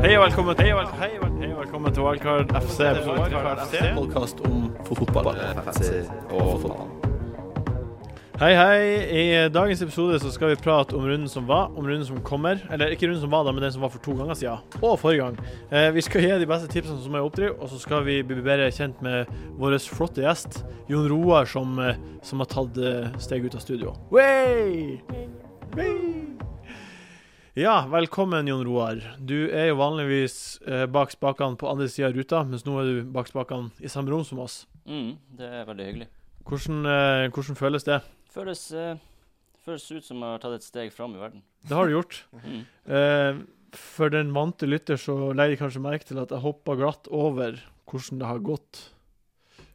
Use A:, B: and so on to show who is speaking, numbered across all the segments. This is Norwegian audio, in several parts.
A: Hei og velkommen til Hei og vel- hei og velkommen til Wildcard FC.
B: podkast om fotball.
A: Hei, hei. I dagens episode så skal vi prate om runden som var, om runden som kommer. Eller ikke runden som var, da, men den som var for to ganger siden. Og forrige gang. Eh, vi skal gi de beste tipsene som er i oppdriv, og så skal vi bli bedre kjent med vår flotte gjest, Jon Roar, som, eh, som har tatt eh, steg ut av studio. Wey! Wey! Ja, velkommen, Jon Roar. Du er jo vanligvis eh, bak spakene på andre sida av ruta, mens nå er du bak spakene i samme rom som oss.
C: Mm, det er veldig hyggelig.
A: Hvordan, eh, hvordan føles det?
C: Føles, eh, føles ut som jeg har tatt et steg fram i verden.
A: Det har du gjort.
C: Mm.
A: Eh, for den vante lytter så legger jeg kanskje merke til at jeg hoppa glatt over hvordan det har gått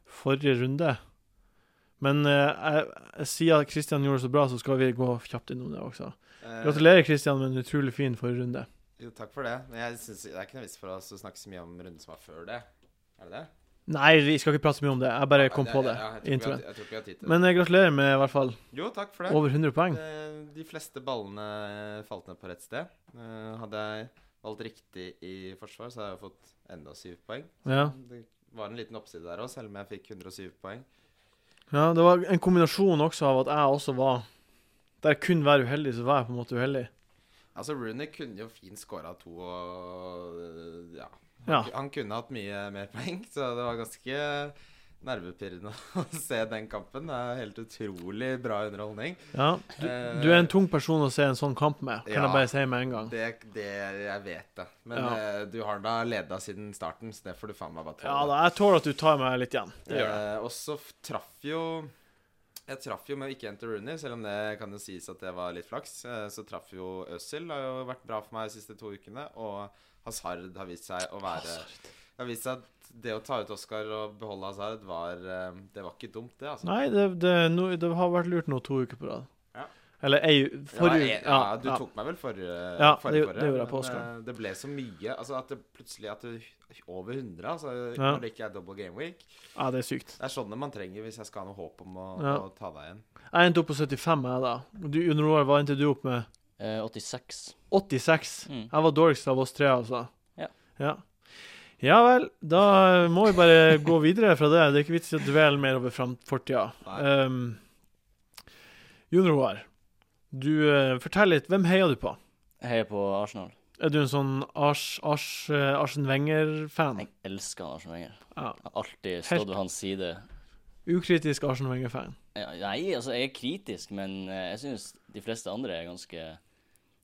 A: forrige runde. Men eh, jeg, jeg sier at Kristian gjorde det så bra, så skal vi gå kjapt innom det også. Gratulerer, Kristian, med en utrolig fin forrige runde.
D: Eh, Jo, takk for det. Men jeg synes, det er ikke noe vits for oss å snakke så mye om runden som var før det. Er det det?
A: Nei, vi skal ikke prate så mye om det. Jeg bare kom
D: Nei,
A: på det
D: ja,
A: i
D: jeg, tror ikke vi har-
A: introen.
D: jeg tror ikke vi har tid til det.
A: Men eh, gratulerer med i hvert fall
D: Jo, takk for det.
A: over 100 poeng.
D: Eh, De fleste ballene falt ned på rett sted. Eh, Hadde jeg valgt riktig i forsvar, så hadde jeg fått enda syv poeng.
A: Ja.
D: Det var en liten oppside der òg, selv om jeg fikk 107 poeng.
A: ja, det var en kombinasjon også av at jeg også var Der jeg kun var uheldig, så var jeg på en måte uheldig.
D: Altså, Rooney kunne jo fint skåra to og øh, ja.
A: Ja.
D: Han kunne hatt mye mer poeng, så det var ganske nervepirrende å se den kampen. Det er helt utrolig bra underholdning. Eh,
A: Ja, du, du er en tung person å se en sånn kamp med, kan
D: Ja.
A: jeg bare si med en gang.
D: Det, det Jeg vet det. Men
A: Ja.
D: eh, du har da leda siden starten, så det får du faen meg bare
A: Ja da, jeg tåler at du tar meg litt igjen. Det gjør jeg.
D: Eh, og så f- traff jo Jeg traff jo med å ikke hente Rooney, selv om det kan jo sies at det var litt flaks. Eh, så traff jo Øzil. Har jo vært bra for meg de siste to ukene. Og Hazard har vist seg å være Det har vist seg at det å ta ut Oscar og beholde Hazard, var eh, Det var ikke dumt, det, altså.
A: Nei, det, det, no, det har vært lurt nå to uker på rad.
D: Ja.
A: Eller ei forrige
D: ja,
A: uke.
D: ja, du
A: Ja, ja.
D: tok meg vel forrige
A: Ja, det-
D: forrige, forrige,
A: det gjorde jeg på
D: men,
A: Oscar.
D: eh, Det ble så mye altså at det plutselig at du, Over 100, altså,
A: Ja.
D: når det ikke er double game week.
A: ja, det er sykt.
D: Det er sånne man trenger hvis jeg skal ha noe håp om å,
A: Ja.
D: å ta deg igjen.
A: Jeg endte opp på 75, jeg, da. Du, Jon Roar, hva endte du opp med?
C: Eh, 86.
A: 86.
C: Mm.
A: Jeg var dårligst av oss tre, altså.
C: Ja.
A: ja. Ja vel, da eh, må vi bare gå videre fra det. Det er ikke vits i å dvele mer over fram- fortida.
D: Nei.
A: Um, Jon Roar, du eh, fortell litt. Hvem heier du på?
C: Jeg heier på Arsenal.
A: Er du en sånn Ars, Ars, eh, Arsen Wenger-fan?
C: Jeg elsker han Arsenal Wenger.
A: Ja.
C: Jeg har alltid
A: Helt-
C: stått ved hans side.
A: Ukritisk Arsen Wenger-fan.
C: Ja, nei, altså, jeg er kritisk, men eh, jeg syns de fleste andre er ganske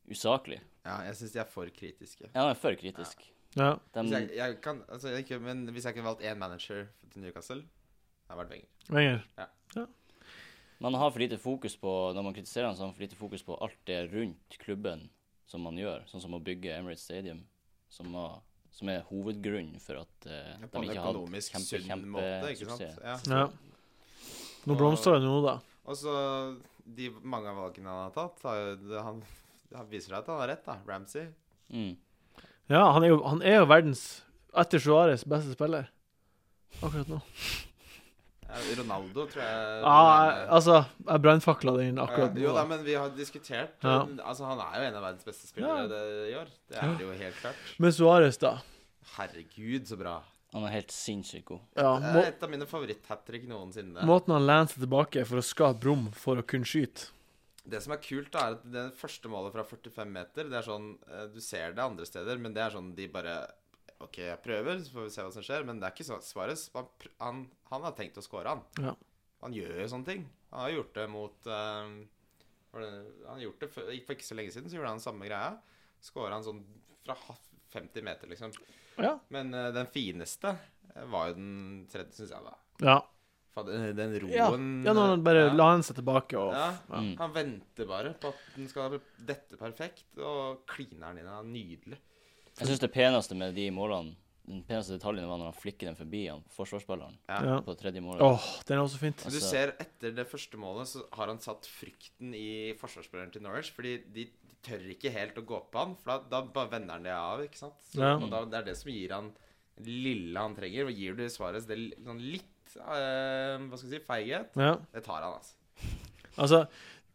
C: usaklige.
D: Ja, jeg syns de er for kritiske.
C: Ja, han er for kritisk.
A: Ja.
C: De,
D: Hvis jeg, jeg kan, altså, jeg, kunne- men hvis jeg kunne valgt én manager til Newcastle, det hadde vært Wenger.
A: Wenger.
C: man har for lite fokus på Når man kritiserer han, så har man for lite fokus på alt det rundt klubben som man gjør, sånn som å bygge Emirates Stadium, som, var, som er hovedgrunnen for at eh,
D: Ja, På
C: de
D: en
C: ikke hadde
D: økonomisk
C: kjempe,
D: sunn måte, ikke
C: kjempesuksess.
D: sant. Ja.
A: Ja. Nå blomstrer det nå, da.
D: Og så de mange av valgene han har tatt, har jo det- han, han viser seg at han har rett, da. Ramsey.
C: Mm.
A: Ja, han er jo, han er jo verdens, etter Suárez, beste spiller. Akkurat nå.
D: Ja, Ronaldo, tror jeg.
A: Ja, altså, jeg brannfakla den akkurat
D: Eh, jo
A: nå.
D: da,
A: da.
D: men vi har diskutert
A: Ja.
D: men, Altså, han er jo en av verdens beste
A: Ja.
D: spillere det, i år. Det er det jo helt klart.
A: Men Suárez, da.
D: Herregud, så bra.
C: Han er helt sinnssykt god.
A: Ja,
D: Det
A: må,
D: er et av mine favoritt-hat trick noensinne.
A: måten han lener seg tilbake for å skape rom for å kunne skyte.
D: Det som er kult, da, er at det første målet fra 45 meter Det er sånn eh, Du ser det andre steder, men det er sånn de bare OK, jeg prøver, så får vi se hva som skjer. Men det er ikke sånn Svares han, pr- han, han har tenkt å score, han.
A: Ja.
D: Han gjør jo sånne ting. Han har gjort det mot eh, var det, Han har gjort det for, for ikke så lenge siden, så gjorde han samme greia. Skåra han sånn fra ha- 50 meter, liksom.
A: Ja.
D: Men eh, den fineste eh, var jo den tredje, syns jeg, da.
A: Ja,
D: Fader, eh, Den roen eh,
A: ja. ja når han bare
D: ja.
A: la han seg tilbake og
D: Ja.
A: ja.
C: Mm.
D: Han venter bare på at den skal dette perfekt, og klineren din er nydelig.
C: Jeg syns det peneste med de målene den peneste detaljen var når han flikker den forbi han, forsvarsspilleren
A: Ja.
C: på tredje målet.
A: Åh, den er også fint.
D: Men du
C: Altså-
D: ser etter det første målet, så har han satt frykten i forsvarsspilleren til Norwich. Fordi de, de tør ikke helt å gå på han, for da, da bare vender han det av. ikke sant? Så,
A: Ja.
D: Og da, det er det som gir han det lille han trenger. Og gir du Svares det li- sånn litt eh, hva skal jeg si, feighet,
A: Ja.
D: det tar han, altså.
A: Altså,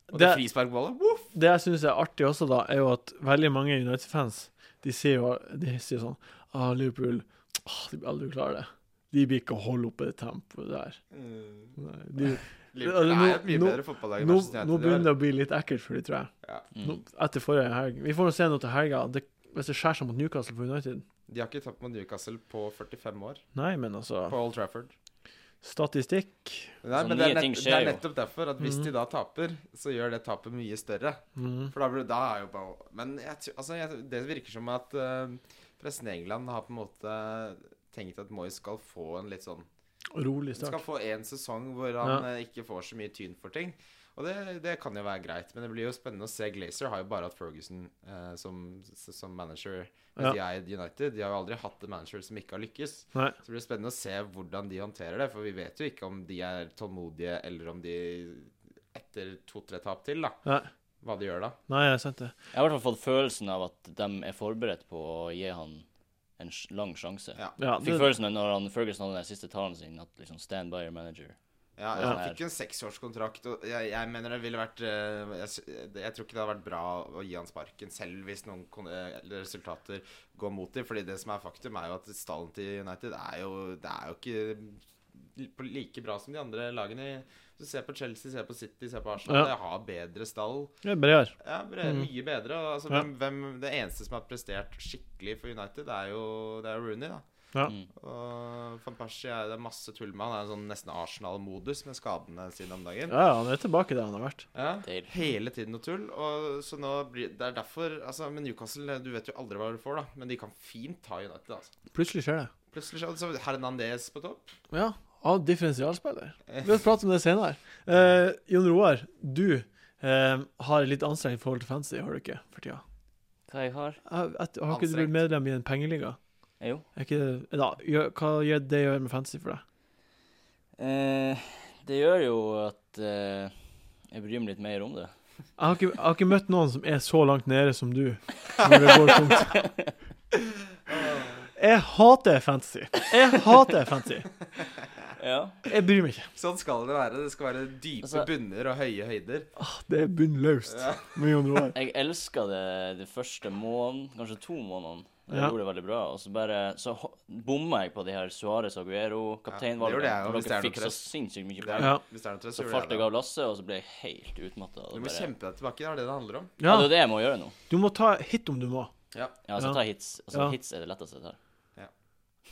D: Og det,
A: Det-
D: frisparkballet Woof!
A: Det jeg syns er artig også, da, er jo at veldig mange United-fans De sier jo de sier sånn ah, Liverpool ah, De blir aldri klare det. De blir ikke å holde oppe det tempoet der.
D: Mm.
A: Nei, De,
D: Liverpool
A: Altså, Nå-
D: er et mye
A: nå-
D: bedre fotballag enn
A: nå,
D: Manchester United.
A: nå begynner det å bli litt ekkelt for de, tror jeg.
D: Ja.
A: Nå, etter forrige helg. Vi får nå se noe til helga. Det, hvis det skjærer seg mot Newcastle for United
D: De har ikke tapt mot Newcastle på 45 år,
A: Nei, men altså
D: på Old Trafford.
A: Statistikk
D: Nei,
C: Så
D: men det er,
C: Sånn nye ting
D: nett, det
C: skjer
D: er
C: jo.
D: nettopp derfor at hvis de da taper, så gjør det tapet mye større.
A: Mhm.
D: For da, blir, da er jo bare Men jeg, tror- altså, jeg, det virker som at eh, pressen i England har på en måte tenkt at Moyes skal få en litt sånn
A: Rolig
D: Han skal
A: start.
D: få en sesong hvor han eh, ikke får så mye tyn for ting. Og det, det kan jo være greit, men det blir jo spennende å se. Glazer har jo bare hatt Ferguson eh, som, som manager. Mens de er i United. De har jo aldri hatt en manager som ikke har lykkes.
A: Nei.
D: Så det blir spennende å se hvordan de håndterer det, for vi vet jo ikke om de er tålmodige, eller om de etter to-tre tap til, da,
A: Nei,
D: hva de gjør da.
A: nei, jeg har sett det.
C: Jeg har i hvert fall fått følelsen av at de er forberedt på å gi han en sj- lang sjanse.
D: Ja.
A: Ja,
C: Jeg
A: det,
C: fikk følelsen av når han, Ferguson hadde den siste talen sin, at liksom stand by your manager.
D: Ja,
C: Ja.
D: Han fikk jo en seksårskontrakt, og jeg, jeg mener det ville vært eh, jeg, sy- det- jeg tror ikke det hadde vært bra å gi han sparken, selv hvis noen kon- eh, eller resultater går mot dem. Fordi det som er faktum, er jo at stallen til United er jo, det er jo ikke li- på like bra som de andre lagene. i- Du ser på Chelsea, ser på City, ser på Arsenal.
A: Ja.
D: De har bedre stall.
A: det er bare gjør.
D: Ja, bre, mye bedre. og Altså,
A: Mm. Ja.
D: hvem, hvem, det eneste som har prestert skikkelig for United, er jo, det er jo Rooney, da.
A: Ja.
C: Mm.
D: Og Van Persie er, det er masse tull med. Han er en sånn nesten Arsenal-modus med skadene sine om dagen.
A: Ja, ja, han er tilbake der han har vært.
D: Ja.
C: Deilig.
D: Hele tiden noe tull. Og så nå blir, Det er derfor altså, Men Newcastle, du vet jo aldri hva du får, da. Men de kan fint ta United, altså.
A: Plutselig skjer det.
D: Plutselig så så Hernandez på topp.
A: Ja, av differensialspiller. Vi har pratet om det senere. Eh, Jon Roar, du eh, har et litt anstrengt forhold til fantasy, har du ikke? For tida.
C: Hva jeg har?
A: Jeg, jeg, har ikke du blitt medlem i en pengeliga?
C: Eh, jo.
A: Er ikke, da, gjør, hva gjør det gjør med fantasy for deg?
C: Eh, det gjør jo at eh, jeg bryr meg litt mer om det.
A: Jeg har, ikke, jeg har ikke møtt noen som er så langt nede som du. Når det går tungt. Jeg hater fantasy. Jeg hater fantasy.
C: Ja.
A: Jeg bryr meg ikke.
D: Sånn skal det være. Det skal være dype
C: Altså-
D: bunner og høye høyder.
A: Det er bunnløst med Jon Roar.
C: Jeg elska det de første måneden, kanskje to månedene. Jeg
A: Ja.
C: gjorde det veldig bra. Og så bare Så ho- bomma jeg på de her Suárez og Aguero,
D: det gjorde jeg
C: kapteinvalgene.
D: jo,
C: og
D: hvis det er noe
C: dere fikk så
D: press.
C: sinnssykt mye
D: Det er,
C: poeng.
A: Ja.
D: Hvis det er noe trøst, så
C: Så
D: gjør
C: falt
D: det
C: jeg av
D: det.
C: lasset, og så ble jeg helt utmatta.
D: Du må kjempe deg tilbake. Det er det det handler om.
C: Ja,
A: Ja,
C: det er jo det jeg må gjøre nå.
A: du må ta hit om du må.
D: Ja.
C: Ja, altså
A: Ja.
C: ta hits. Altså,
A: Ja.
C: Hits er det letteste jeg tar.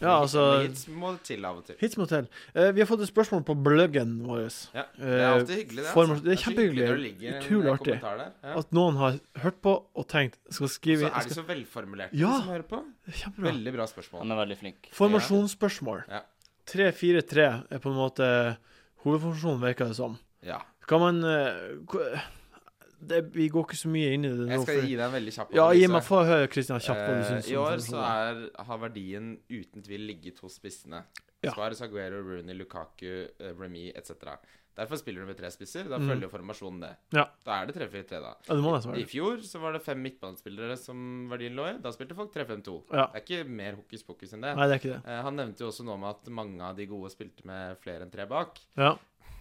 A: Ja, altså
D: Hits må til av og til.
A: Hits må til. Eh, vi har fått et spørsmål på bloggen vår.
D: Ja,
A: Eh,
D: Det er alltid hyggelig, det.
A: form-
D: altså.
A: det er
D: så hyggelig
A: kjempehyggelig.
D: når det ligger en eh,
A: Utrolig artig.
D: kommentar der. Ja.
A: At noen har hørt på og tenkt Skal
D: Så
A: skrive
D: er de
A: skal,
D: så velformulerte,
A: Ja.
D: de som hører på.
A: Kjempebra.
D: Veldig bra spørsmål.
C: Han er veldig flink.
A: Formasjonsspørsmål.
D: Ja.
A: 3-4-3 er på en måte eh, hovedformasjonen, virker det som.
D: Ja.
A: Kan man eh, hva- det, Vi går ikke så mye inn i det nå.
D: Jeg skal
A: for-
D: gi deg en veldig kjapp
A: ja, gi
D: analyse.
A: meg få høre, Kristian, kjapt hva du
D: Eh,
A: syns.
D: I
A: om
D: år så
A: formasjonen.
D: er, har verdien uten tvil ligget hos spissene.
A: Ja.
D: Suarez, Aguero, Rooney, Lukaku, eh, Remy etc. Derfor spiller du med tre spisser. Da følger jo formasjonen det.
A: Mm. Ja.
D: Da er det 3-4-3, da.
A: ja, det må nesten være
D: I
A: det.
D: fjor så var det fem midtbanespillere som verdien lå i. Da spilte folk 3-5-2.
A: Ja.
D: Det er ikke mer hokus pokus enn det.
A: Nei, det er ikke det.
D: Eh, Han nevnte jo også noe om at mange av de gode spilte med flere enn tre bak.
A: Ja.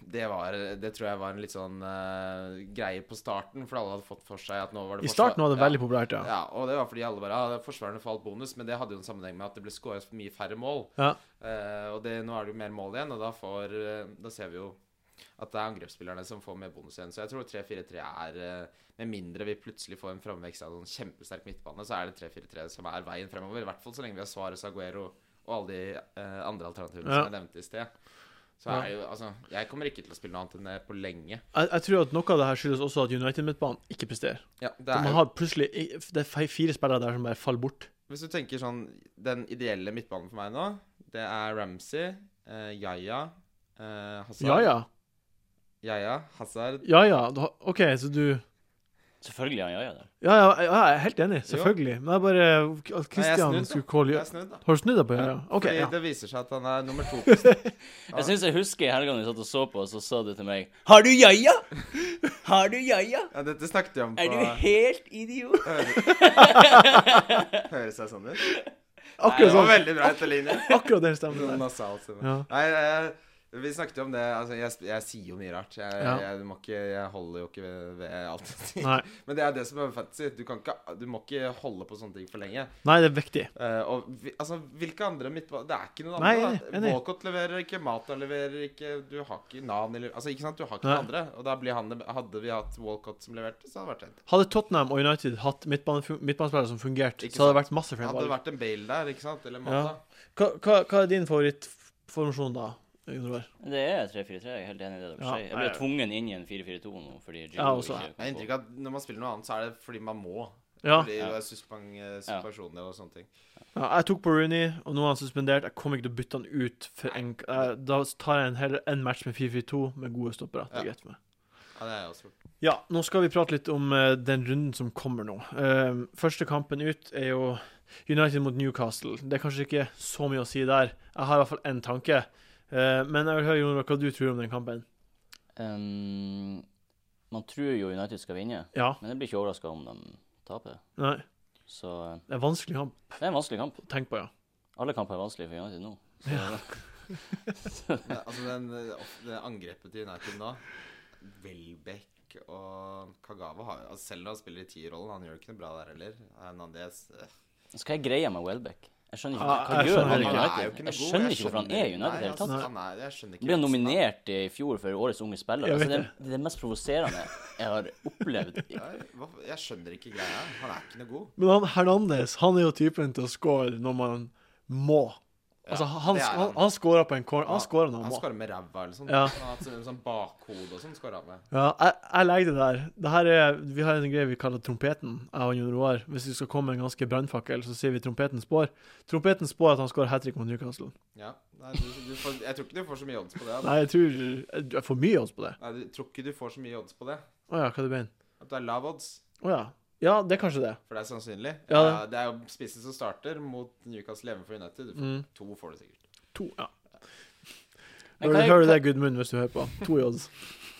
D: Det, var, det tror jeg var en litt sånn eh, greie på starten, for alle hadde fått for seg at nå var det
A: I starten var det
D: Ja.
A: veldig populært, ja.
D: Ja, og det var fordi alle bare ja, Forsvarerne falt bonus, men det hadde jo en sammenheng med at det ble skåret mye færre mål.
A: Ja.
D: Eh, og det, nå er det jo mer mål igjen, og da, får, eh, da ser vi jo at det er angrepsspillerne som får mer bonus igjen. Så jeg tror 3-4-3 er eh, Med mindre vi plutselig får en framvekst av en kjempesterk midtbane, så er det 3-4-3 som er veien fremover. I hvert fall så lenge vi har Suárez Aguero og alle de eh, andre alternativene
A: Ja.
D: som jeg nevnte i sted. Så er jo, altså, jeg kommer ikke til å spille noe annet enn det på lenge.
A: Jeg, jeg tror at noe av det her skyldes også at United-midtbanen ikke presterer.
D: Ja, det
A: De
D: er jo
A: har plutselig Det er fe- fire spillere der som bare faller bort.
D: Hvis du tenker sånn Den ideelle midtbanen for meg nå, det er Ramsey, eh, Yaya, eh, Hazard
A: Ja ja.
D: Yaya, Hazard
A: Ja ja. Du har, OK, så du
C: Selvfølgelig er han jaja der.
A: Ja ja, ja, jeg er helt enig. Selvfølgelig. Men jeg bare At
D: snudd, da.
A: Christian skulle calle
D: Det
A: ja.
D: er snudd, da.
A: Har du snudd deg på ja? ja. OK.
D: Fordi
A: Ja.
D: det viser seg at han er nummer to. på snitt.
C: Jeg syns jeg husker i helgene vi satt og så på, så sa du til meg Har du jaja? Har du jaja?
D: Ja, dette snakket vi om på
C: Er du helt idiot?
D: Hører seg sånn ut? Det
A: Akkurat
D: var
A: sånn.
D: veldig bra etter linje.
A: Akkurat den stemmen der.
D: Sånn nasal stemme.
A: Ja.
D: Nei, eh, Vi snakket jo om det altså, jeg, jeg sier jo mye rart. Jeg,
A: Ja.
D: jeg, du må ikke, jeg holder jo ikke ved, ved alt. jeg sier.
A: Nei.
D: Men det er det som er med fantasy. Du, kan ikke, du må ikke holde på sånne ting for lenge.
A: Nei, det er viktig.
D: Eh, og vi, altså, hvilke andre midtbaner Det er ikke noen
A: Nei,
D: andre.
A: enig,
D: da.
A: enig.
D: Walcott leverer ikke, Mata leverer ikke, du har ikke Nan eller Altså, ikke sant, du har ikke
A: Nei.
D: noen andre. Og da blir han Hadde vi hatt Walcott som leverte, så hadde det vært en.
A: Hadde Tottenham og United hatt midtbane- midtbanespillere som fungerte,
D: Ikke
A: så hadde det
D: sant?
A: vært masse flere
D: Hadde det
A: valg.
D: vært en Bale der, ikke sant, eller Mata
A: Ja. Hva, hva, hva er din favorittformasjon, da? Gunnar?
C: Det er 3-4-3. Jeg er helt enig i det dere
A: Ja,
C: sier. Jeg
A: nei,
C: ble
A: jeg-
C: tvungen inn i en 4-4-2 nå fordi Gio
A: Ja, også, ja.
D: Jeg har inntrykk av at når man spiller noe annet, så er det fordi man må.
A: Ja.
D: Fordi
C: Ja.
D: det er suspang, eh, suspensjoner og sånne ting.
A: ja. Jeg tok på Rooney, og nå er han suspendert. Jeg kommer ikke til å bytte han ut. For en, eh, da tar jeg en, heller en match med 4-4-2 med gode stoppere. Det
D: Ja.
A: er greit for meg.
D: Ja, det er jeg også gjort.
A: Ja, nå skal vi prate litt om eh, den runden som kommer nå. Eh, første kampen ut er jo United mot Newcastle. Det er kanskje ikke så mye å si der. Jeg har i hvert fall én tanke. Eh, men jeg vil høre Jon, Roar, hva du tror om den kampen.
C: Um, man tror jo United skal vinne,
A: Ja.
C: men jeg blir ikke overraska om de taper.
A: Nei.
C: Så eh,
A: Det er en vanskelig kamp
C: det er en vanskelig kamp.
A: å tenke på, ja.
C: Alle kamper er vanskelige for United nå. Så,
D: Men, altså, den, eh, off- det angrepet til United nå Welbeck og Kagawa har altså, Selv når han spiller i tierrollen, han gjør ikke noe bra der heller. Hernandez eh,
C: så hva er greia med Welbeck? Jeg skjønner ikke.
A: Ja,
C: Hva
A: jeg
C: gjør
A: skjønner
C: han i
A: ikke.
D: er jo
C: United?
D: noe god.
C: Jeg skjønner ikke hvorfor han er i United i
D: Nei,
C: det hele tatt.
D: altså, han er, jeg skjønner ikke
C: Ble han
D: hvem som er-
C: nominert i fjor for årets unge spiller.
A: Jeg
C: Altså,
A: vet
C: det, er det mest provoserende jeg har opplevd.
D: Ja, hva- Jeg skjønner ikke greia. Han er ikke noe god.
A: Men han Hernandez han er jo typen til å score når man må. Altså, han,
D: det er
A: han.
D: han.
A: han, scorer på en corner. Han scorer når han,
D: han
A: må.
D: scorer med ræva eller sånn.
A: Ja.
D: Han har hatt sånn, sånn bakhode og sånn. Scorer han med.
A: Ja, jeg, jeg legger det der. Det her er, vi har en greie vi kaller trompeten. Jeg og Jon Roar. Hvis vi skal komme med en ganske brannfakkel, så sier vi trompeten spår. Trompeten spår at han skårer hat trick mot Newcastle.
D: Ja. Nei, du, du får, jeg tror ikke du får så mye odds på det. Altså.
A: Nei, jeg tror Jeg får mye odds på det.
D: Nei, du tror ikke du får så mye odds på det.
A: Å ja, hva er det mener?
D: At det er lav odds.
A: Å ja. Ja, det er kanskje det.
D: For det er sannsynlig.
A: Ja,
D: Ja,
A: det-
D: det er jo spissen som starter mot Newcastle hjemme for United. Du får,
A: Mm.
D: To får du sikkert.
A: To, ja.
C: Men
A: Hører,
C: hva,
A: hører du det,
C: er,
A: Gudmund, hvis du hører på? To i odds.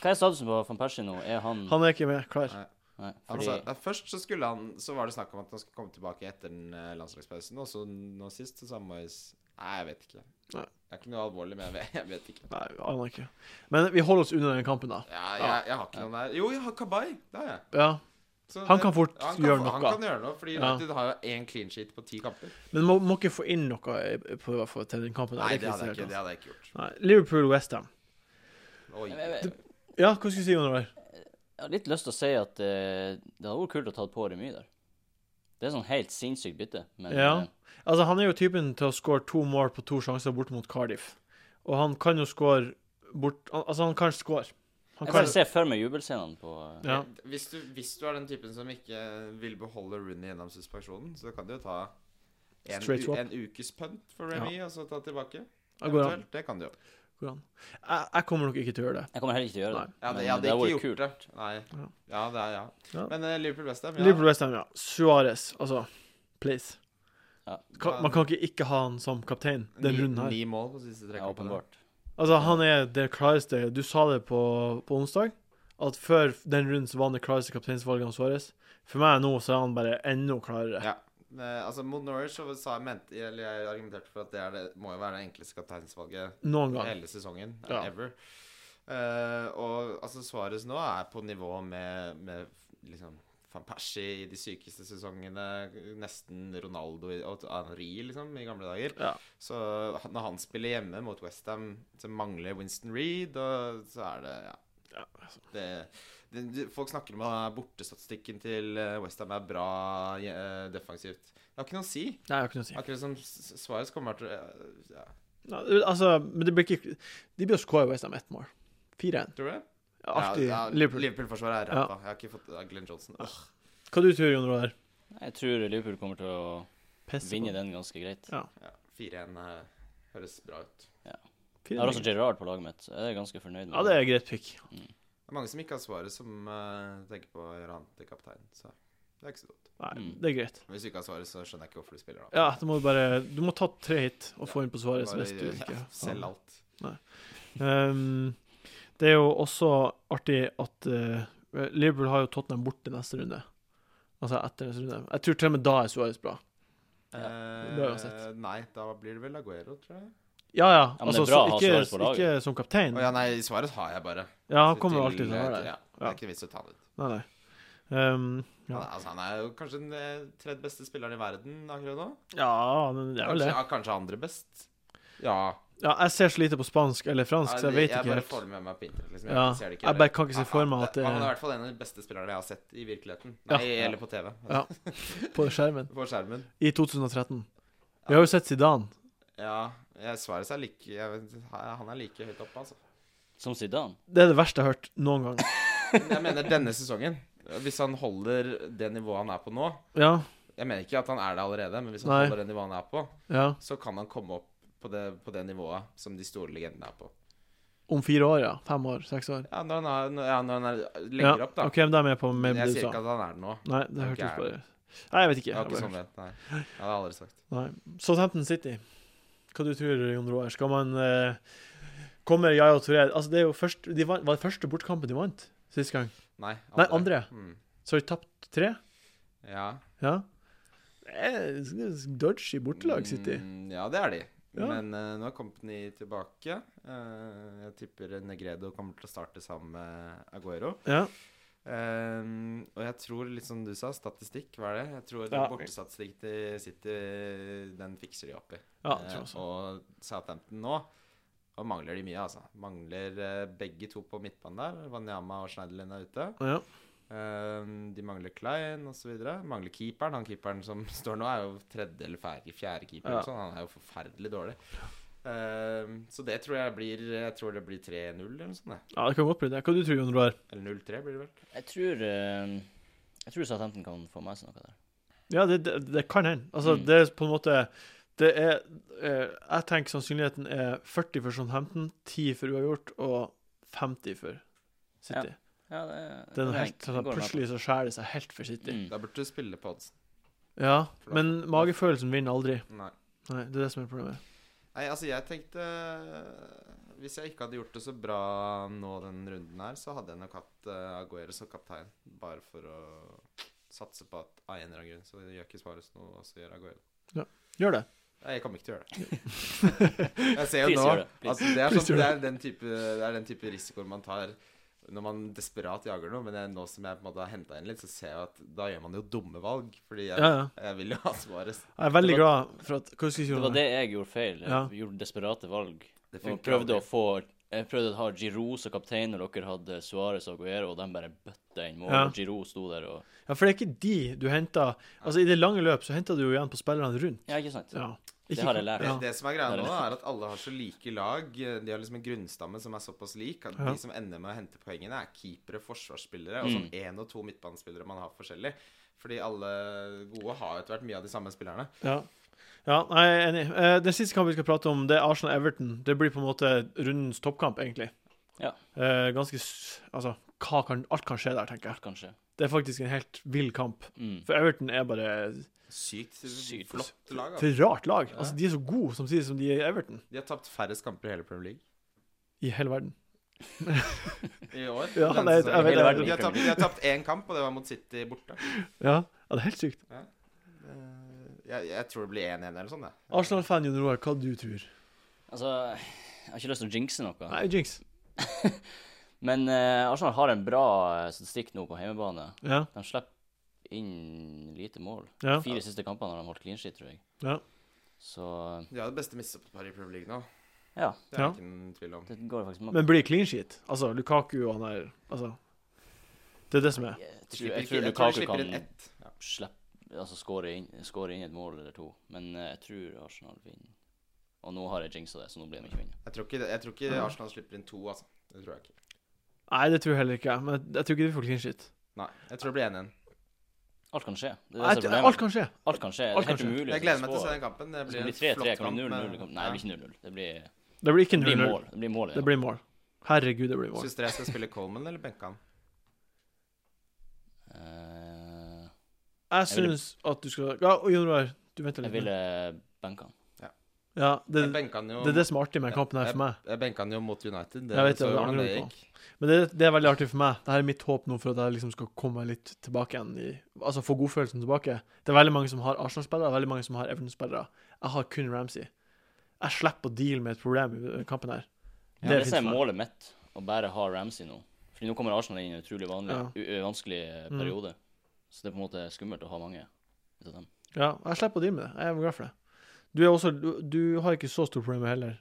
C: hva er statusen på van Persie nå? Er han,
A: Han er ikke med. Klar.
D: Nei.
C: Nei,
D: Han
C: fordi,
D: sa, ja, Altså, først så skulle han Så var det snakk om at han skulle komme tilbake etter den eh, landslagspausen, og så nå sist så sa Moyes Nei, jeg vet ikke.
A: Nei.
D: Det er ikke noe alvorlig, men jeg vet, jeg vet ikke.
A: Nei, vi aner ikke. Men vi holder oss unna den kampen, da.
D: Ja, jeg, jeg har ikke noen der. Jo, jeg har Kabay. Det har jeg.
A: Ja.
D: Så
A: Han
D: det-
A: kan fort
D: han
A: gjøre
D: få- Han
A: noe.
D: kan gjøre noe, fordi
A: Ja.
D: United har jo én clean sheet på ti kamper.
A: Men må, må ikke få inn noe i- på, på, til den kampen. der.
D: Nei,
A: er
D: det hadde
A: kritisert,
D: jeg ikke, det hadde jeg ikke gjort.
A: altså. Nei. Liverpool-Westham.
D: Oi.
C: jeg, jeg, jeg,
A: Ja, hva skal vi si, Jon Roar?
C: har litt lyst til å si at eh, det hadde vært kult å ta på remis der. Det er sånn helt sinnssykt bytte, men
A: Ja.
C: eh,
A: Altså, han er jo typen til å score to mål på to sjanser borte mot Cardiff. Og han kan jo score bort han- Altså, han kan score. Han
C: jeg
A: kan,
C: bare ser for meg jubelscenene på eh,
A: ja.
D: Hvis, du, hvis du er den typen som ikke vil beholde Rooney gjennom suspensjonen, så kan du jo ta en,
A: Straight
D: u,
A: swap.
D: en ukes punt for Remy, og så ta tilbake.
A: Det går an.
D: Eventuelt. Det kan du jo.
A: Går an. Jeg, jeg kommer nok ikke til å gjøre det.
C: Jeg kommer heller ikke til å gjøre det.
D: Ja, det,
C: men
D: jeg hadde
C: hadde
D: ikke
C: vært
D: gjort det. Nei.
A: Ja.
D: Ja, det er ja.
A: Ja.
D: Men eh, Liverpool Westham, ja.
A: Liverpool Westham, ja. Suárez, altså. Please.
C: Ja.
A: Ka- man kan ikke ikke ha han som kaptein den
D: Ni-
A: runden her.
D: Ni mål på siste tre
C: Ja,
D: kampene.
C: åpenbart.
A: Altså, han er det klareste Du sa det på, på onsdag, at før den runden så var han det klareste kapteinsvalget av Suárez. For meg nå så er han bare enda klarere.
D: Ja. Men, Altså, mot Norwich så sa jeg, mente, eller jeg argumenterte for at det, er det må jo være det enkleste kapteinsvalget
A: Noen gang.
D: hele sesongen.
A: Ja.
D: Ever. Eh, og altså, Suárez nå er på nivå med, med liksom Van Persie i de sykeste sesongene. Nesten Ronaldo i- og Henri, liksom, i gamle dager.
A: Ja.
D: Så han- når han spiller hjemme mot Westham, så mangler Winston Reed, og så er det Ja.
A: Ja,
D: det, det, det- folk snakker om at bortestatistikken til Westham er bra eh, defensivt. Det har ikke noe å si.
A: Nei, jeg har ikke noe å si.
D: Akkurat som Suárez kommer til å ja,
A: Ja, altså, men det blir ikke De blir å score Westham ett mål. 4-1.
D: Tror du det?
A: Alltid
D: ja, ja,
A: Liverpool.
D: Liverpool-forsvaret er ræva. Jeg har ikke fått ja, Glenn Johnson. Åh.
A: Hva du tror Jon Roar?
C: Jeg tror Liverpool kommer til å
A: Pisse
C: vinne
A: på.
C: den ganske greit.
D: Ja, 4-1 eh, høres bra ut.
C: Jeg har også Gerrard på laget mitt. så Jeg er ganske fornøyd med
A: Ja, det er et greit pick.
D: Det er mange som ikke har svaret, som eh, tenker på å gjøre han til kaptein. Så det er ikke så dumt.
A: Nei,
C: Mm.
A: det er greit.
D: Men Hvis du ikke har svaret, så skjønner jeg ikke hvorfor du spiller da.
A: Ja, du må du bare Du må ta tre hit og få inn på
D: Bare
A: Suárez hvis du
D: gjør-
A: ikke
D: ja, Selg alt.
A: Um, det er jo også artig at eh, Liverpool har jo Tottenham borte neste runde. Altså etter neste runde. Jeg tror til og med da er Suárez bra.
D: Eh,
A: bra uansett.
D: nei, da blir det vel Aguero, tror jeg.
A: Ja, ja.
C: men det er
A: Altså, så,
C: bra å ha
A: ikke,
C: Suarez på laget.
A: ikke som kaptein.
D: Å ja, nei, svaret har jeg bare.
A: Ja, han kommer jo alltid til
D: Til-
A: å være
D: Ja,
A: der.
D: det
A: Ja.
D: er ikke vits å ta det ut.
A: Nei, nei. Ehm,
D: Han
A: ja.
D: er, altså, han er jo kanskje den eh, tredje beste spilleren i verden akkurat nå.
A: ja, men det er vel
D: Kanskje,
A: det.
D: ja, kanskje andre best. Ja.
A: Ja, jeg ser så lite på spansk eller fransk, så jeg vet ikke
D: Jeg bare
A: helt.
D: får det med meg på internett. Liksom.
A: Ja,
D: Jeg, ser det ikke
A: jeg
D: heller.
A: bare kan ikke se
D: Han-
A: for meg
D: han-
A: at det er-
D: Han er i hvert fall en av de beste spillerne jeg har sett i virkeligheten.
A: Ja.
D: Nei, eller på TV.
A: Ja. På skjermen.
D: På skjermen.
A: I 2013. Vi har jo sett Zidane.
D: Ja, jeg svarer seg like jeg vet, Han er like høyt oppe, altså.
C: Som Zidane.
A: Det er det verste jeg har hørt noen gang.
D: Men jeg mener denne sesongen. Hvis han holder det nivået han er på nå
A: Ja,
D: Jeg mener ikke at han er det allerede, men hvis han
A: Nei.
D: holder det nivået han er på,
A: ja.
D: så kan han komme opp på det, på det nivået som de store legendene er på.
A: Om fire år, ja. Fem år, seks år.
D: Ja, når han, er, når, ja, når han er,
A: Ja,
D: legger opp, da.
A: OK, men da er jeg med på med
D: Men
A: det
D: jeg
A: du
D: sier
A: sa.
D: ikke at han er det nå.
A: Nei, det
D: Ok,
A: hørtes
D: er
A: bare Nei, jeg vet ikke.
D: Det var
A: Jeg
D: ikke
A: bare-
D: sånn ment, nei. Ja, det har jeg aldri sagt.
A: Nei. Southampton City. Hva du tror Jon Roar? Skal man eh, Kommer Yayo Touré Altså, det er jo først de vant, Var det første bortkampen de vant sist gang?
D: Nei,
A: Nei, andre.
D: Mm.
A: Så har de tapt tre?
D: Ja.
A: Ja. Eh, Dodgy bortelag, City.
D: Mm, ja, det er de.
A: Ja.
D: Men eh, nå er Company tilbake. Eh, jeg tipper Negredo kommer til å starte sammen med Aguero.
A: Ja.
D: Ehm, og jeg tror, litt som du sa, statistikk, hva er det? Jeg tror den
A: Ja.
D: bortestatistikk til City, den fikser de opp i.
A: Ja,
D: Eh,
A: tror jeg også.
D: og Southampton nå og mangler de mye, altså. Mangler eh, begge to på midtbanen der. Wanyama og Schneiderlin er ute.
A: Ja.
D: Ehm, de mangler Klein osv. Mangler keeperen. Han keeperen som står nå, er jo tredje eller fjerde, fjerde keeper.
A: Ja.
D: eller Sånn. Han er jo forferdelig dårlig. Ehm, så det tror jeg blir Jeg tror det blir 3-0 eller noe sånt. det.
A: ja, det kan godt bli det. Hva du tror du, Jon Roar?
D: Eller 0-3 blir det vel.
C: Jeg tror eh, Jeg tror Southampton kan få med seg noe der.
A: Ja, det, det, det kan hende. Altså,
C: Mm.
A: det er på en måte Det er eh, Jeg tenker sannsynligheten er 40 for Southampton, 10 for uavgjort og 50 for City.
C: Ja, det,
A: Det er noe
C: det
A: helt,
C: går
A: sånn,
C: med på.
A: plutselig så skjærer det seg helt for City.
C: Mm.
D: Da burde du spille på odds.
A: Ja,
D: For da-
A: men magefølelsen vinner aldri.
D: Nei.
A: Nei, Det er det som er problemet.
D: Nei, altså jeg tenkte Hvis jeg ikke hadde gjort det så bra nå den runden her, så hadde jeg nok hatt eh, Aguero som kaptein. Bare for å satse på at av en eller annen grunn så gjør ikke Svares noe, og så gjør Aguero det.
A: Gjør det.
D: Nei, jeg kommer ikke til å gjøre det. Jeg ser jo
C: Please
D: nå
C: gjør det, please.
D: altså, det, er
A: Please
D: sånn,
A: gjør
D: det, er den type, det er den type risikoer man tar når man desperat jager noe. Men jeg, nå som jeg på en måte har henta inn litt, så ser jeg at da gjør man jo dumme valg. Fordi jeg,
A: Ja, ja.
D: jeg vil jo ha Svares.
A: Jeg er veldig
C: Det
A: glad for at Hva skulle du si?
C: Det var
A: Jon Roar?
C: det jeg gjorde feil. Jeg
A: Ja.
C: gjorde desperate valg.
D: Det
C: Og
D: funker
C: prøvde
D: aldri.
C: å få Jeg prøvde å ha Giroud som kaptein når dere hadde Suárez og Aguero, og de bare bøtta inn mål.
A: Ja.
C: og Giroud sto der og
A: Ja, for det er ikke de du henter Altså, i det lange løp så henter du jo igjen på spillerne rundt.
C: Ja, ikke sant?
A: Ja.
C: Det
A: Ikke-
C: har jeg lært.
A: Ja.
D: Det, det som er greia
C: Det er
D: nå,
C: det.
D: er at alle har så like lag. De har liksom en grunnstamme som er såpass lik at
A: Ja.
D: de som ender med å hente poengene, er keepere, forsvarsspillere og
C: Mm.
D: sånn én og to midtbanespillere man har forskjellig. Fordi alle gode har jo etter hvert mye av de samme spillerne.
A: Ja. ja, nei, jeg er enig. Eh, Den siste kampen vi skal prate om, det er Arsenal-Everton. Det blir på en måte rundens toppkamp, egentlig.
C: Ja.
A: Eh, ganske s- Altså, hva kan, alt kan skje der, tenker jeg.
C: Kanskje.
A: Det er faktisk en helt vill kamp.
C: Mm.
A: For Everton er bare
D: Sykt,
C: Sykt.
D: flott lag.
A: For
D: Altså.
A: et rart lag. Altså, de er så gode samtidig som de er i Everton.
D: De har tapt færrest kamper i hele Premier League
A: I hele verden.
D: i år.
A: Ja,
D: denne
A: nei, jeg
D: sesongen.
A: vet-
C: Hele verden
D: de, har
C: i Premier
D: tapt, de har tapt én kamp, og det var mot City borte.
A: Ja, ja det er helt sykt.
D: Jeg, jeg tror det blir 1-1 eller sånn, det.
A: Arsenal-fan Jon Roar, hva du tror
C: Altså, jeg har ikke lyst til å jinxe noe.
A: Nei, jinx.
C: Men eh, Arsenal har en bra eh, statistikk nå på hjemmebane.
A: Ja.
C: De slipper inn lite mål.
A: Ja.
C: Fire siste kampene har de holdt clean shit, tror jeg.
A: Ja.
C: Så
D: De har det beste misseparet i Premier League nå.
C: ja,
D: Det er
A: Ja.
D: det ikke noen tvil om.
C: det går faktisk med.
A: Men blir det clean sheet? Altså, Lukaku og han der Altså. Det er det som er.
C: Jeg tror,
D: Slipper
C: jeg
D: ikke- Jeg
C: tror
D: tror de
C: Lukaku
D: slipper inn
C: kan
D: ett. Ja.
C: slippe Altså skåre inn, score inn et mål eller to. Men eh, jeg tror Arsenal vinner. Og nå har jeg jinxa det, så nå blir de ikke vinner.
D: Jeg tror ikke, jeg tror ikke Arsenal slipper inn to, altså. Det tror jeg ikke.
A: Nei, det tror jeg heller ikke. jeg. Men jeg- jeg tror ikke vi får clean sheet.
D: Nei, jeg tror det blir 1-1.
C: Alt kan skje.
A: Jeg
C: Det er det som
A: tror-
C: er
A: Alt
C: problemet.
A: kan skje.
C: Alt kan skje. Det
A: alt
C: er helt
A: kan skje.
C: umulig.
D: Jeg gleder meg til å se den kampen. Det
C: Det
D: blir
C: skal bli
D: en
C: 3-3,
D: flott
C: kan
D: kamp.
C: bli 0-0.
D: men-
C: det kan- Nei, det blir ikke 0-0. Det blir,
A: Det blir ikke
C: det blir
A: 0-0.
C: mål. Det blir mål, ja.
A: Det blir mål. Herregud, det blir
D: Ja.
A: mål.
D: Syns dere jeg skal spille Coleman eller benke han?
C: Eh,
A: Jeg
C: Jeg ville-
A: syns at du skal Ja, og Jon Roar, du venter
C: jeg
A: litt.
C: ville benka han.
A: Ja, det,
D: Jeg benka han jo
A: det er det som er artig med kampen her for meg.
D: Jeg benka han jo mot United. Det,
A: Jeg vet det,
D: så
A: det
D: jo hvordan
A: angrer
D: det
A: jeg på.
D: gikk.
A: Men det, det er veldig artig for meg. Dette er mitt håp nå for at jeg liksom skal komme meg litt tilbake igjen i Altså få godfølelsen tilbake. Det er veldig mange som har Arsenal-spillere, veldig mange som har Everton-spillere. Jeg har kun Ramsey. Jeg slipper å deale med et problem i kampen her.
C: Ja, det som er målet mitt, å bare ha Ramsey nå. Fordi nå kommer Arsenal inn i en utrolig vanlig,
A: Ja.
C: u- ø, vanskelig eh,
A: Mm.
C: periode. Så det er på en måte skummelt å ha mange ut av dem.
A: Ja, jeg slipper å deale med det. Jeg er glad for det. Du, er også, du, du har ikke så store problemer heller.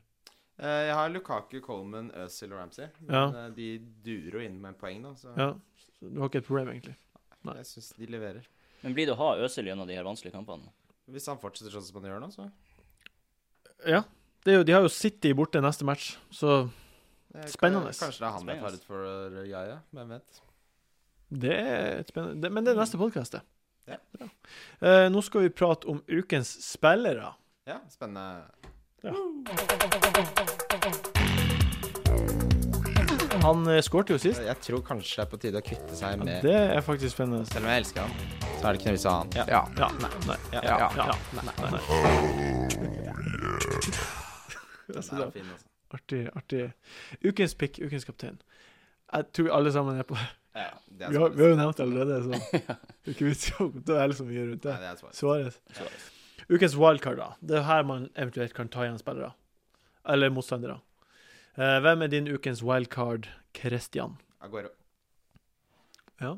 D: Eh, Jeg har Lukaku, Coleman, Özil og Ramsey. Men
A: Ja.
D: eh, de durer jo inn med poeng, da. Så
A: Ja. Du har ikke et problem, egentlig. nei.
D: jeg syns de leverer.
C: Men blir det å ha Øsil gjennom de her vanskelige kampene?
D: Hvis han fortsetter sånn som han gjør nå, så
A: Ja. Det er jo, de har jo City borte neste match, så
D: eh,
A: Spennende.
D: kan- Kanskje det er han jeg tar
C: Spennende.
D: ut for uh, Yaya. Hvem vet.
A: det er et spennende det, Men det er neste podkast, det.
D: Ja.
A: Bra. Eh, nå skal vi prate om ukens spillere.
D: Ja, spennende.
A: Han eh, skårte jo sist.
D: Jeg tror kanskje det er på tide å kvitte seg
A: Ja,
D: med
A: det er faktisk spennende.
D: Selv om jeg elsker han, så er det ikke noe vits i å ha han.
A: Ja, nei, nei, ja, ja, Oh, nei, nei, nei.
D: Den er fin, altså.
A: Artig, artig. Ukens pick, ukens kaptein. Jeg tror alle sammen er på
D: Ja, det er
A: Vi har, vi
D: svaret.
A: har jo nevnt det allerede, så det er ikke vits i å dvele så mye rundt
D: Nei,
A: det.
D: det er svaret.
A: Suarez. Ukens wildcard, da. Det er her man eventuelt kan ta igjen spillere. Eller motstandere. Eh, hvem er din ukens wildcard, Christian?
D: Aguero.
A: Ja.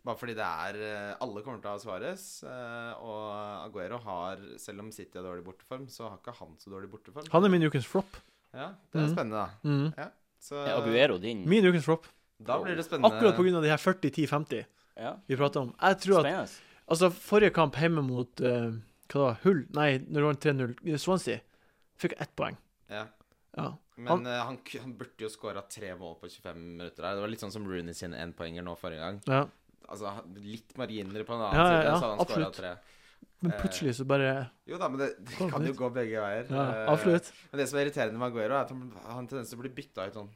D: Bare fordi det er eh, Alle kommer til å ha Suárez. eh, Og Aguero har, selv om City har dårlig borteform, så har ikke han så dårlig borteform.
A: Han er min ukens flop.
D: Ja, det er
A: Mhm.
D: spennende, da.
A: Mm.
D: Så
C: Er Aguero din?
A: Min ukens flop.
D: da blir det spennende.
A: Akkurat pga. de her 40-10-50
C: Ja.
A: vi prater om. Jeg tror at
C: Spennende.
A: Altså, forrige kamp hjemme mot eh, Hva det var Hull? Nei, når det var 3-0 i Swansea, fikk jeg ett poeng.
D: Ja.
A: Ja.
D: Men
A: Han-
D: han, han, k- han burde jo skåra tre mål på 25 minutter der. Det var litt sånn som Rooney sine énpoenger nå forrige gang.
A: ja.
D: Altså han- litt marginer på en annen
A: Ja, ja,
D: side,
A: ja,
D: så hadde han skåra
A: absolutt.
D: tre.
A: Men
D: Eh,
A: plutselig så bare
D: Jo da, men det, det
A: Kom
D: kan jo
A: litt.
D: gå begge veier.
A: ja,
D: Eh,
A: Absolutt.
D: Men det som er irriterende med Aguero, er at han han har en tendens til å bli bytta ut sånn.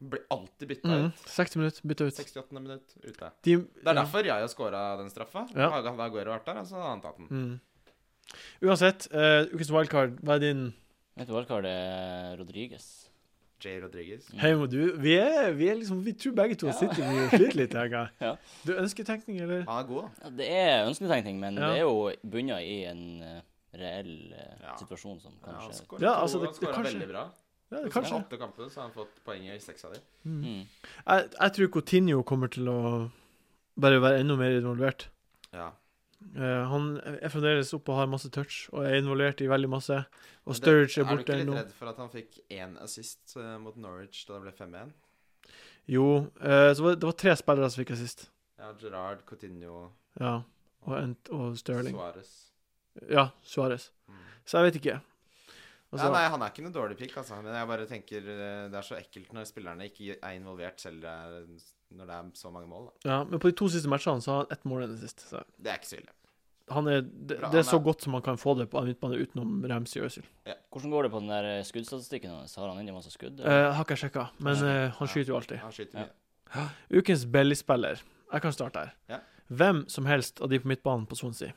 D: Han blir alltid bytta
A: Mm,
D: ut.
A: 60 minutter, bytta ut.
D: 68. minutt ute.
A: De,
D: Det er derfor jeg har scora den straffa.
A: Ja.
D: Hadde Aguero vært der, så hadde han tatt den.
A: Mm. Uansett, eh, ukens wildcard, hva er din
D: Mm.
C: Mitt wildcard er Rodriguez.
D: Jay Rodriguez.
A: Hei, må du vi er, vi er liksom Vi tror begge to
C: Ja.
A: sitter mye og sliter litt. Jeg.
C: Ja.
A: Du ønsketenkning, eller?
D: Han er god, da.
C: Ja, det er ønsketenkning, men
A: Ja.
C: det er jo bunna i en eh, reell eh,
D: Ja.
C: situasjon som
D: Ja, han
C: kanskje
D: skårer
A: Ja,
D: to,
A: altså, det-
D: han
A: det
D: skårer
A: kanskje-
D: veldig bra.
A: Ja,
D: På
A: kanskje.
D: åtte kamper så har han fått poeng i seks av dem.
C: mm.
A: Jeg, jeg tror Coutinho kommer til å bare være enda mer involvert.
D: Ja.
A: Eh, han er fremdeles oppe og har masse touch, og er involvert i veldig masse. Og
D: Men det-
A: Sturridge er
D: Er du
A: borte
D: ikke litt
A: ennå.
D: redd for at han fikk én assist eh, mot Norwich da det ble 5-1?
A: Jo, eh, så var, det var tre spillere som fikk assist.
D: Ja, Gerard, Coutinho,
A: Ja, og, en, og Sterling.
D: Suárez.
A: Ja, Suárez. Så jeg vet ikke. Altså,
D: Mm. ja, nei, han er ikke noe dårlig pick, altså. Men jeg bare tenker eh, det er så ekkelt når spillerne ikke er involvert selv det er- når det er så mange mål. Da.
A: ja, men på de to siste matchene så har han ett mål enn sist. Så
D: Det er ikke så ille.
A: han er, det,
D: Bra,
A: det
D: han
A: er så
D: er-
A: godt som man kan få det på en midtbane utenom Ramsey og Øzil.
C: Hvordan går det på den der eh, skuddstatistikken hans? Har han ennå masse skudd?
A: Eh,
C: eller?
A: har ikke jeg sjekka, men eh, han skyter jo alltid.
D: Han skyter
C: Ja.
D: mye.
A: Ukens Belly-spiller. Jeg kan starte her.
D: Ja.
A: Hvem som helst av de på midtbanen på Swansea.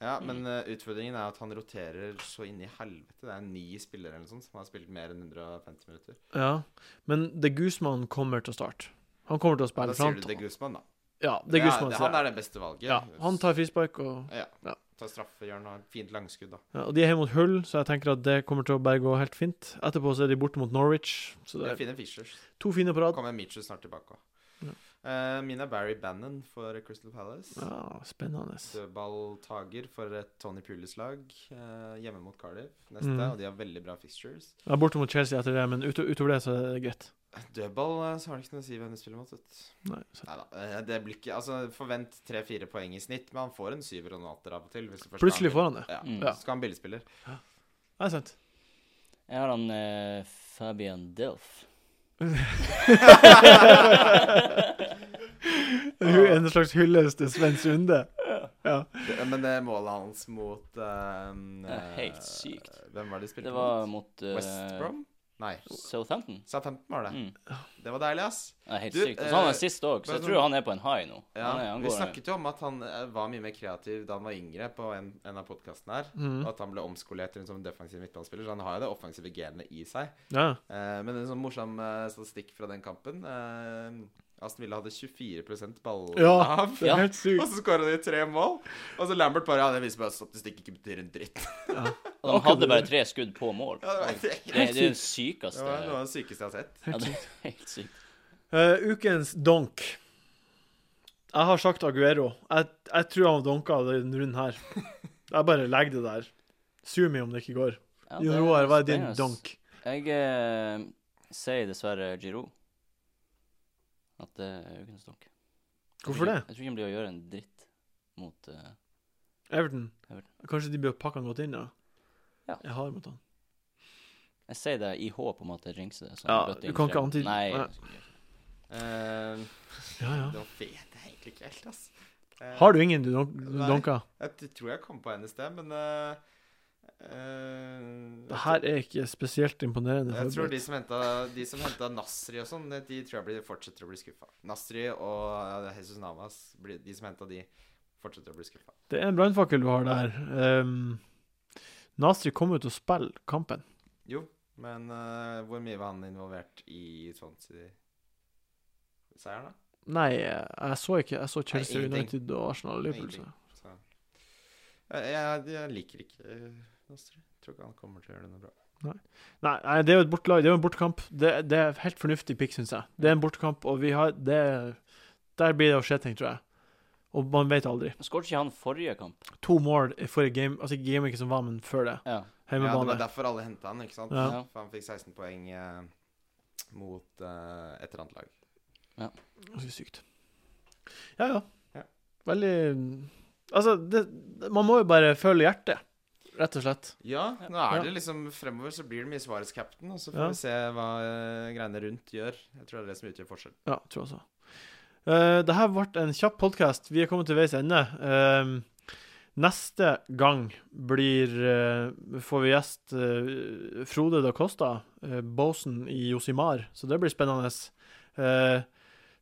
D: Ja, men eh, utfordringen er at han roterer så inn i helvete. Det er ni spillere eller noe sånt som har spilt mer enn 150 minutter.
A: Ja, men The Guzman kommer til å starte. Han kommer til å
D: Da
A: spille
D: sier
A: fram.
D: du det Guzman, da.
A: Ja, det er
D: Ja,
A: Guzman.
D: det-
A: sier
D: han
A: jeg.
D: er det beste valget.
A: Ja, han tar frispark, og,
D: ja.
A: Ja.
D: Tar straffe, gjør noe fint langskudd, da.
A: ja, og de er hjemme mot Hull, så jeg tenker at det kommer til å bare gå helt fint. Etterpå så er de borte mot Norwich, så
D: Det
A: det
D: er
A: er
D: fine Fishers.
A: to fine på
D: Nå
A: rad.
D: kommer Michu snart tilbake òg.
A: Ja.
D: min er Barry Bannon for Crystal Palace.
A: Ja, spennende.
D: Dødballtager for et Tony Pulis lag eh, hjemme mot Cardiff neste,
A: Mm.
D: og de har veldig bra fixtures.
A: Jeg er borte mot Chelsea etter det, men ut, utover det så er det greit.
D: Dødball eh, så har det ikke noe å si hvem du spiller mot. Vet. du.
A: Nei, så.
D: Neida, eh, det blir ikke Altså, forvent tre-fire poeng i snitt, men han får en syver og en åtter av og til. Hvis du først
A: Plutselig
D: skal ha
A: får han det.
D: en bil-
C: Mm.
D: Ja, så skal han billigspiller.
A: Det er sant.
C: Jeg har han eh, Fabian Delf.
A: En slags hyllest til Sven Sunde. Ja.
D: Det- Men det målet hans mot eh,
C: Det er helt
D: eh,
C: sykt.
D: Hvem var det de spilte
C: Det var
D: mot?
C: mot eh,
D: West Brom? Nei,
C: Southampton.
D: sa 15 var det.
C: Mm.
D: Det var deilig, ass.
C: Det er helt
D: Du,
C: sykt. Og så han
D: eh,
C: er sist òg, så
D: bare
C: jeg tror
D: sånn-
C: han er på en high nå.
D: Ja,
C: han er, han
D: vi
C: går,
D: snakket jo om at han eh, var mye mer kreativ da han var yngre, på en, en av podkastene her. Og
A: Mm.
D: at han ble omskolert rundt som en sånn defensiv midtbanespiller. Så han har jo det offensive genet i seg.
A: ja.
D: Eh, men en sånn morsom eh, statistikk fra den kampen eh, Aston Villa hadde 24 ball
A: Ja,
D: av.
A: det er helt
D: Og
A: sykt.
D: så skåra de tre mål. Og så Lambert bare Ja, det viser bare at statistikk ikke betyr en dritt.
C: Og de hadde bare tre skudd på mål.
D: Ja, det var helt
C: Det,
D: ekkelt.
C: det er det sykeste
D: Det var noe av det sykeste jeg har sett.
C: Ja, det er helt sykt.
A: Eh, ukens donk. Jeg har sagt Aguero. Jeg, jeg tror han donka denne runden her. Jeg bare legger det der. Sur meg om det ikke går.
C: Ja,
A: Jon
C: det
A: Roar, hva er din
C: spennende.
A: donk?
C: Jeg eh, sier dessverre Giroud. At det er ukens donk. Jeg tror
A: Hvorfor
C: ikke-
A: det?
C: Jeg tror ikke han blir å gjøre en dritt mot eh,
A: Everton?
C: Everton.
A: Kanskje de bør pakke han godt inn, da?
C: Ja.
A: Jeg har mot han.
C: Jeg sier det i håp om at det ringser. så
A: Ja,
C: han bøtter
A: du
C: inn
A: kan ikke
C: frem.
A: antyde-
C: Nei.
A: Nei.
D: Eh,
A: Ja, ja.
D: Det var fet egentlig ikke helt, ass. Eh,
A: Har du ingen du donk
D: Nei.
A: donka?
D: Jeg t- tror jeg kom på en i sted, men eh, eh,
A: Det her er ikke spesielt imponerende.
D: Jeg tror
A: forberedt.
D: de som henta, de som henta Nasri og sånn, de tror jeg blir, fortsetter å bli skuffa. Nasri og eh, Jesus Navas, blir- de som henta de, fortsetter å bli skuffa.
A: Det er en brannfakkel du har der. Ehm, Nasri kom ut og spille kampen.
D: Jo, men eh, hvor mye var han involvert i Swansea-seieren, da?
A: Nei, jeg så ikke Jeg så Chelsea
D: ingenting.
A: United og Arsenal og Liverpool.
D: Ingenting.
A: så.
D: Så. Jeg, jeg, jeg liker ikke eh, Nasri. Tror ikke han kommer til å gjøre det noe bra.
A: Nei, nei, det er jo et bortelag. Det er jo en bortekamp. Det, det er helt fornuftig pick, syns jeg. Det er en bortekamp, og vi har det, Der blir det å skje ting, tror jeg. Og man vet aldri.
C: Skåret ikke han forrige kamp?
A: To mål for en game Altså ikke game ikke som var, men før det.
C: Ja.
D: Ja, det
A: Hjemmebane.
D: var derfor alle henta han, ikke sant?
A: Ja.
D: For han fikk 16 poeng eh, mot eh, et eller annet lag.
A: Ganske sykt. Ja, ja.
D: Ja.
A: Veldig Altså, det, man må jo bare følge hjertet, rett og slett.
D: Ja, nå er
A: Ja.
D: det liksom fremover så blir det mye svarets captain, og så får
A: Ja.
D: vi se hva eh, greiene rundt gjør. Jeg tror det er det som utgjør forskjell.
A: Ja, tror jeg også. Uh, det her ble en kjapp podkast. Vi er kommet til veis ende. Ehm, neste gang blir eh, får vi gjest eh, Frode da Costa, uh, Bosen i Josimar, så det blir spennende. Eh,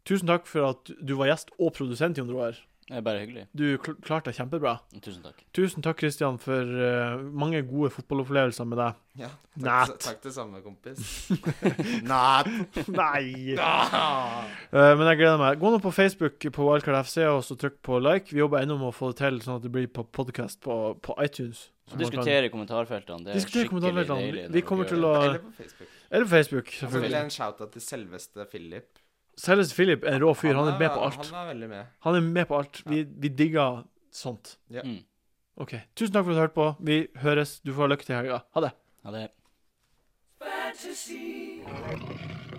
A: tusen takk for at du var gjest og produsent, Jon Roar.
C: Det er bare hyggelig.
A: Du kl klarte deg kjempebra.
C: Tusen takk.
A: Tusen takk, Kristian, for eh, mange gode fotballopplevelser med deg.
D: Ja, takk,
A: Nat.
D: takk til samme kompis. Nat!
A: Nei!
D: Ah!
A: Eh, men jeg gleder meg. Gå nå på Facebook på Wildcard FC og så trykk på like. Vi jobber ennå med å få det til sånn at det blir på podkast på, på iTunes. Så man
C: Og
A: kan-
C: diskutere i kommentarfeltene. Det
A: Diskutere
C: er
A: i
C: skikkelig
A: kommentarfeltene.
C: deilig.
A: Vi-
C: når
A: vi
C: dere
A: kommer
C: gjør
A: til
C: det.
A: å-
D: Eller på Facebook.
A: Eller på Facebook,
D: Så vil jeg
A: selvfølgelig.
D: en shout-out til selveste Philip.
A: Selveste Philip er en rå fyr. Han er med på alt.
D: Han er veldig med.
A: Han er med på alt. Vi, vi digger sånt.
D: Ja.
C: Mm.
A: OK. Tusen takk for at du hørte på. Vi høres. Du får ha lykke til i helga. Ha det.
C: Ja, det er
E: fantasy.